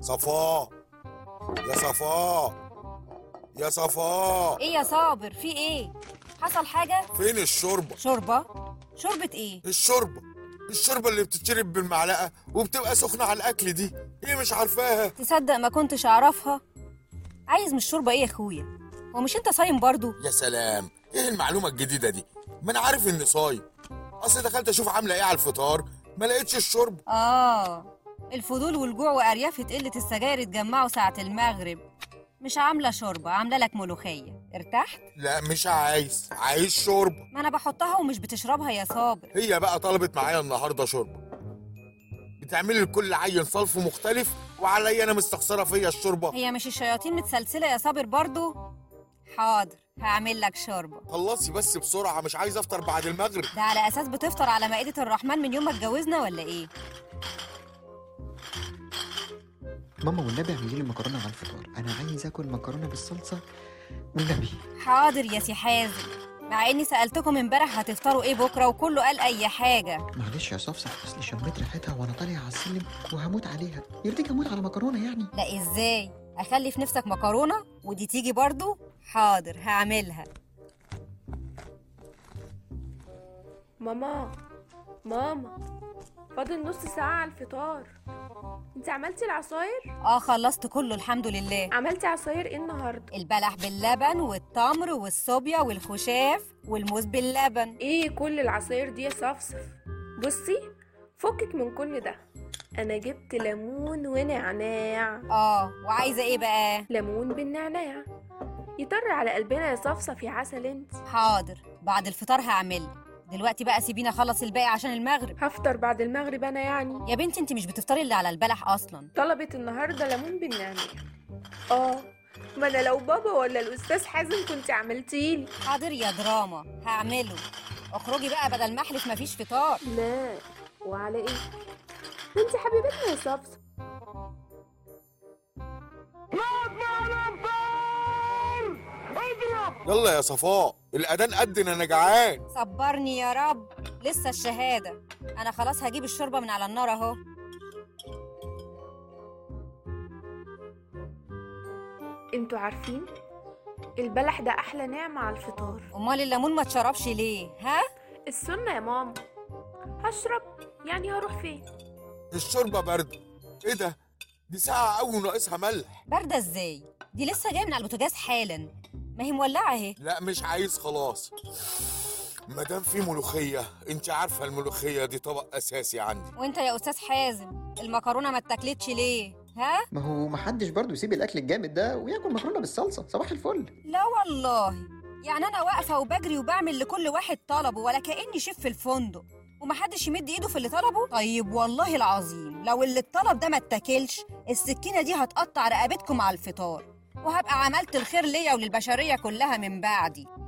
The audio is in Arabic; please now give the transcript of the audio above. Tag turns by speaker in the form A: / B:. A: صفاء يا صفاء يا صفاء
B: ايه يا صابر في ايه حصل حاجه
A: فين الشوربة
B: شوربه شوربه ايه
A: الشوربة الشوربة اللي بتتشرب بالمعلقة وبتبقى سخنة على الأكل دي إيه مش عارفاها
B: تصدق ما كنتش اعرفها عايز من الشوربه ايه يا اخويا هو مش انت صايم برضو
A: يا سلام إيه المعلومة الجديدة دي ما أنا عارف إني صايم أصل دخلت أشوف عاملة إيه على الفطار ما لقيتش الشوربة
B: اه الفضول والجوع واريافه قله السجاير اتجمعوا ساعه المغرب مش عامله شوربه عامله لك ملوخيه ارتحت
A: لا مش عايز عايز شوربة
B: ما انا بحطها ومش بتشربها يا صابر
A: هي بقى طلبت معايا النهاردة شوربة بتعملي لكل عين صنف مختلف وعليا أنا مستخسرة فيا الشوربة
B: هي مش الشياطين متسلسله يا صابر برضو حاضر هعمل لك شوربه
A: خلصي بس بسرعة مش عايز أفطر بعد المغرب
B: ده على اساس بتفطر على مائده الرحمن من يوم ما اتجوزنا ولا ايه
C: ماما والنبي اعملي لي مكرونه على الفطار انا عايز اكل مكرونه بالصلصه والنبي
B: حاضر يا سي حازم مع اني سالتكم امبارح هتفطروا ايه بكره وكله قال اي حاجه
C: معلش يا صفصف اصل شميت ريحتها وانا طالع على السلم وهموت عليها يرضيك اموت على مكرونه يعني
B: لا ازاي اخلي في نفسك مكرونه ودي تيجي برضو حاضر هعملها
D: ماما ماما فاضل نص ساعة على الفطار انت عملتي العصاير؟
B: اه خلصت كله الحمد لله
D: عملتي عصاير ايه النهاردة؟
B: البلح باللبن والتمر والصوبيا والخشاف والموز باللبن
D: ايه كل العصاير دي يا صفصف؟ بصي فكك من كل ده انا جبت ليمون ونعناع
B: اه وعايزه ايه بقى
D: ليمون بالنعناع يطر على قلبنا يا صفصف يا عسل انت
B: حاضر بعد الفطار هعملها دلوقتي بقى سيبيني اخلص الباقي عشان المغرب
D: هفطر بعد المغرب انا يعني
B: يا بنتي انت مش بتفطري الا على البلح اصلا
D: طلبت النهارده ليمون بالنعناع اه ما انا لو بابا ولا الاستاذ حازم كنت عملتيلي
B: حاضر يا دراما هعمله اخرجي بقى بدل ما احلف مفيش فطار
D: لا وعلى ايه ما انت حبيبتنا يا صفصف
A: يلا يا صفاء الأذان أدن أنا جعان
B: صبرني يا رب لسه الشهادة أنا خلاص هجيب الشوربة من على النار أهو
D: انتوا عارفين البلح ده احلى نعمه على الفطار
B: أمال الليمون ما تشربش ليه ها؟
D: السنه يا ماما هشرب يعني هروح فين
A: الشوربة باردة إيه ده؟ دي ساعة أوي ناقصها ملح
B: باردة إزاي؟ دي لسه جاية من على البوتاجاز حالا ما هي مولعة أهي
A: لا مش عايز خلاص مادام في ملوخية أنت عارفة الملوخية دي طبق أساسي عندي
B: وأنت يا أستاذ حازم المكرونة ما اتاكلتش ليه؟ ها؟
C: ما هو محدش برضه يسيب الاكل الجامد ده وياكل مكرونه بالصلصه صباح الفل
B: لا والله يعني أنا واقفة وبجري وبعمل لكل واحد طلبه ولا كأني شيف في الفندق ومحدش يمد ايده في اللي طلبه طيب والله العظيم لو اللي اتطلب ده ما اتاكلش السكينه دي هتقطع رقبتكم على الفطار وهبقى عملت الخير ليا وللبشريه كلها من بعدي